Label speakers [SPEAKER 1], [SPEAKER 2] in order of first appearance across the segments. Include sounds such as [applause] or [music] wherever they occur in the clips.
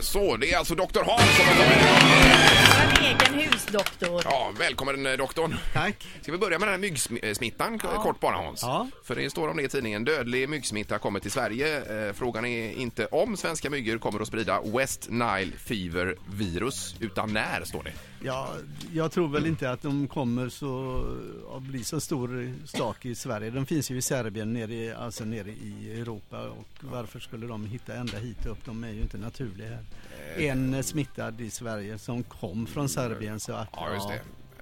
[SPEAKER 1] Så, det är alltså doktor Hans som har kommit hit.
[SPEAKER 2] Vår egen husdoktor.
[SPEAKER 1] Ja, välkommen eh, doktorn.
[SPEAKER 3] Tack.
[SPEAKER 1] Ska vi börja med den här myggsmittan k- kort bara Hans?
[SPEAKER 3] Ja.
[SPEAKER 1] För det står om det i tidningen. Dödlig myggsmitta kommer till Sverige. Eh, Frågan är inte om svenska myggor kommer att sprida West Nile Fever virus, utan när står det.
[SPEAKER 3] Ja, jag tror väl inte att de kommer så, att bli så stor stak i Sverige. De finns ju i Serbien, nere i, alltså nere i Europa. Och varför skulle de hitta ända hit upp? De är ju inte naturliga här.
[SPEAKER 1] Eh.
[SPEAKER 3] En är smittad i Sverige som kom från Serbien. Så att,
[SPEAKER 1] Ja, just det.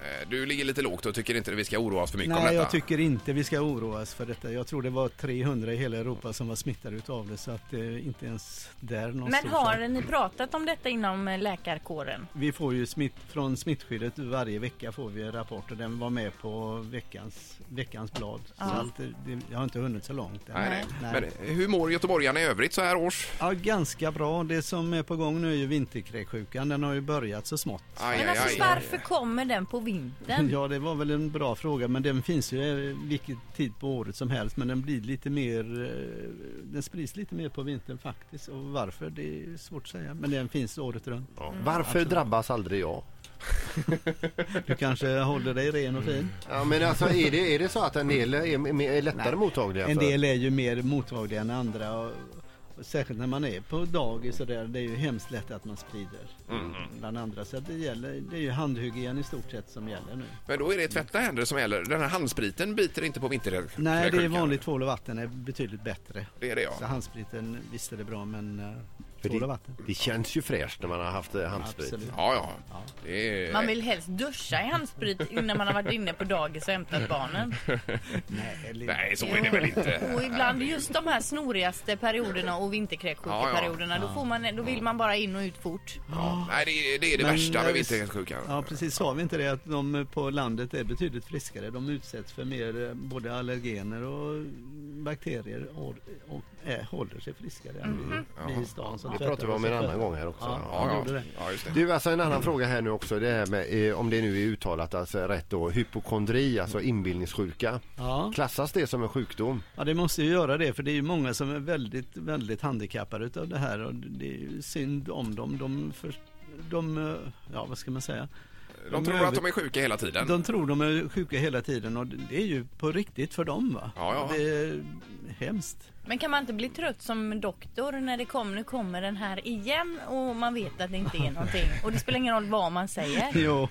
[SPEAKER 1] Eh, Du ligger lite lågt och tycker inte vi ska oroa oss för mycket om
[SPEAKER 3] Nej,
[SPEAKER 1] detta.
[SPEAKER 3] jag tycker inte vi ska oroas för detta. Jag tror det var 300 i hela Europa som var smittade utav det. Så att eh, inte ens där någon
[SPEAKER 2] Men
[SPEAKER 3] stor
[SPEAKER 2] har
[SPEAKER 3] sak.
[SPEAKER 2] ni pratat om detta inom eh, läkarkåren?
[SPEAKER 3] Vi får ju smitt, från smittskyddet varje vecka får vi rapporter. Den var med på veckans, veckans blad. Så att det, det, jag har inte hunnit så långt än.
[SPEAKER 1] Nej, nej.
[SPEAKER 3] Nej.
[SPEAKER 1] Men eh, hur mår göteborgarna i övrigt så här års?
[SPEAKER 3] Ja, ganska bra. Det som är på gång nu är ju vinterkräksjukan. Den har ju börjat så smått.
[SPEAKER 1] Aj,
[SPEAKER 2] Men
[SPEAKER 1] aj,
[SPEAKER 2] alltså
[SPEAKER 1] aj.
[SPEAKER 2] varför kommer den på vintern?
[SPEAKER 3] Ja, det var väl en bra fråga, men den finns ju eh, vilket tid på året som helst. Men den blir lite mer, eh, den sprids lite mer på vintern faktiskt. Och varför, det är svårt att säga. Men den finns året runt.
[SPEAKER 4] Varför drabbas aldrig jag?
[SPEAKER 3] Du kanske håller dig ren och fin.
[SPEAKER 4] Ja, men alltså, är, det, är det så att en del är, är, är lättare mottagliga?
[SPEAKER 3] En
[SPEAKER 4] för-
[SPEAKER 3] del är ju mer mottagliga än andra. Och, och särskilt när man är på dagis och där, det är ju hemskt lätt att man sprider bland andra. Så att det, gäller, det är ju handhygien i stort sett som gäller nu.
[SPEAKER 1] Men då är det tvätta händer som gäller. Den här handspriten biter inte på vinterkräksjukan.
[SPEAKER 3] Nej, det är vanligt tvål och vatten är betydligt bättre.
[SPEAKER 1] Det är det,
[SPEAKER 3] Så
[SPEAKER 1] ja.
[SPEAKER 3] handspriten, visst är det bra, men eh,
[SPEAKER 4] för
[SPEAKER 3] tvål och vatten.
[SPEAKER 4] det, det känns ju fräscht när man har haft eh, handsprit.
[SPEAKER 3] Absolut.
[SPEAKER 1] Ja, [laughs] ja. Det är...
[SPEAKER 2] Man vill helst duscha i handsprit innan man har varit inne på dagis och hämtat barnen.
[SPEAKER 3] Nej, eller-
[SPEAKER 1] Nej, så är det väl inte.
[SPEAKER 2] Och ibland just de här snorigaste perioderna och vinterkräksjukeperioderna, då, får man, då vill man bara in och ut fort.
[SPEAKER 1] Ja. Nej, det är det, är det
[SPEAKER 3] Men,
[SPEAKER 1] värsta
[SPEAKER 3] eh,
[SPEAKER 1] med vinterkräksjukan.
[SPEAKER 3] Ja, precis. Sa vi inte det att de på landet är betydligt friskare? De utsätts för mer eh, både allergener och bakterier och, och eh, håller sig friskare
[SPEAKER 1] Mhm.
[SPEAKER 3] än vi, vi i stan. som
[SPEAKER 4] Det
[SPEAKER 3] tvättar
[SPEAKER 4] pratade vi om
[SPEAKER 3] oss
[SPEAKER 4] en
[SPEAKER 3] i
[SPEAKER 4] annan
[SPEAKER 3] fötterna.
[SPEAKER 4] gång här också.
[SPEAKER 3] Ja, han
[SPEAKER 1] Ja,
[SPEAKER 3] gjorde
[SPEAKER 1] ja.
[SPEAKER 3] det.
[SPEAKER 1] ja, just det.
[SPEAKER 4] Du, alltså en annan fråga här nu också. Det här med, eh, om det nu är uttalat, alltså rätt då, hypokondri, alltså inbillningssjuka.
[SPEAKER 3] Ja.
[SPEAKER 4] Klassas det som en sjukdom?
[SPEAKER 3] ja, det måste ju göra det för det är ju många som är väldigt, väldigt handikappade utav det här och det är ju synd om dem. De, för, de eh, ja vad ska man säga?
[SPEAKER 1] De tror att de är sjuka hela tiden.
[SPEAKER 3] De tror de är sjuka hela tiden och det är ju på riktigt för dem va?
[SPEAKER 1] Ja, ja.
[SPEAKER 3] Det är hemskt.
[SPEAKER 2] Men kan man inte bli trött som doktor när det kommer, nu kommer den här igen och man vet att det inte är någonting. Och det spelar ingen roll vad
[SPEAKER 1] [laughs]
[SPEAKER 2] man säger.
[SPEAKER 3] [laughs] Jo,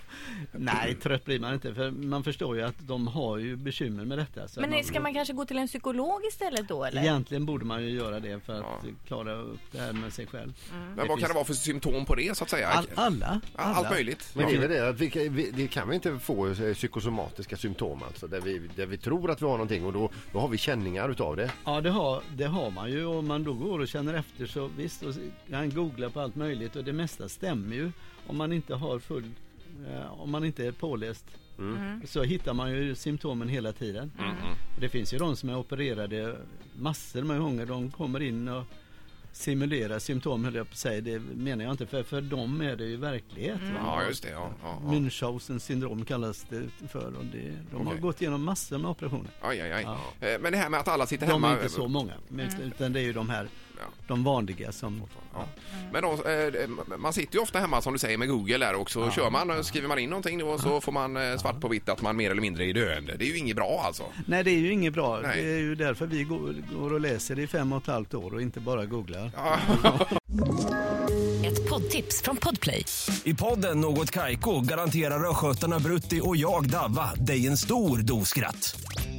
[SPEAKER 3] nej trött blir man inte för man förstår ju att de har ju bekymmer med detta. Så
[SPEAKER 2] Men ska man kanske gå till en psykolog istället då eller?
[SPEAKER 3] Egentligen borde man ju göra det för att klara upp det här med sig själv.
[SPEAKER 2] Mm.
[SPEAKER 1] Men vad kan det vara för symptom på det så att säga?
[SPEAKER 3] All, alla, alla.
[SPEAKER 1] Allt möjligt.
[SPEAKER 4] Men det är väl det att vi, kan- vi, det kan vi inte få eh, psykosomatiska symptom alltså, där vi, där vi tror att vi har någonting och då, då har vi känningar utav det.
[SPEAKER 3] Ja, det har, det har man ju. Om man då går och känner efter så visst, och man googlar på allt möjligt och det mesta stämmer ju. Om man inte har full, eh, om man inte är påläst
[SPEAKER 1] Mm.
[SPEAKER 2] Mm.
[SPEAKER 3] så hittar man ju symptomen hela tiden. Och det finns ju de som är opererade massor med gånger. De kommer in och simulerar symptom höll jag på att säga. Det menar jag inte för, för dem är det ju verklighet. va?
[SPEAKER 1] Ja, just det. Ja, ja, ja.
[SPEAKER 3] Münchhausen syndrom kallas det för och det, de har
[SPEAKER 1] Okej.
[SPEAKER 3] gått igenom massor med operationer.
[SPEAKER 1] Aj, aj, aj. Eh, Men det här med att alla sitter
[SPEAKER 3] De
[SPEAKER 1] hemma.
[SPEAKER 3] är inte så många, men ut- utan det är ju de här,
[SPEAKER 1] Ja.
[SPEAKER 3] de vanliga som...
[SPEAKER 1] Ja. Men då, eh, man sitter ju ofta hemma som du säger med Google där och så kör man och skriver man in någonting och så får man eh, svart på vitt att man mer eller mindre är döende. Det är ju inget bra alltså.
[SPEAKER 3] Nej, det är ju inget bra.
[SPEAKER 1] Nej.
[SPEAKER 3] Det är ju därför vi går, går och läser i fem och ett halvt år och inte bara googlar.
[SPEAKER 5] Ett poddtips från Podplay.
[SPEAKER 6] I podden Något Kaiko garanterar östgötarna Brutti och jag, Davva, dig en stor dos skratt.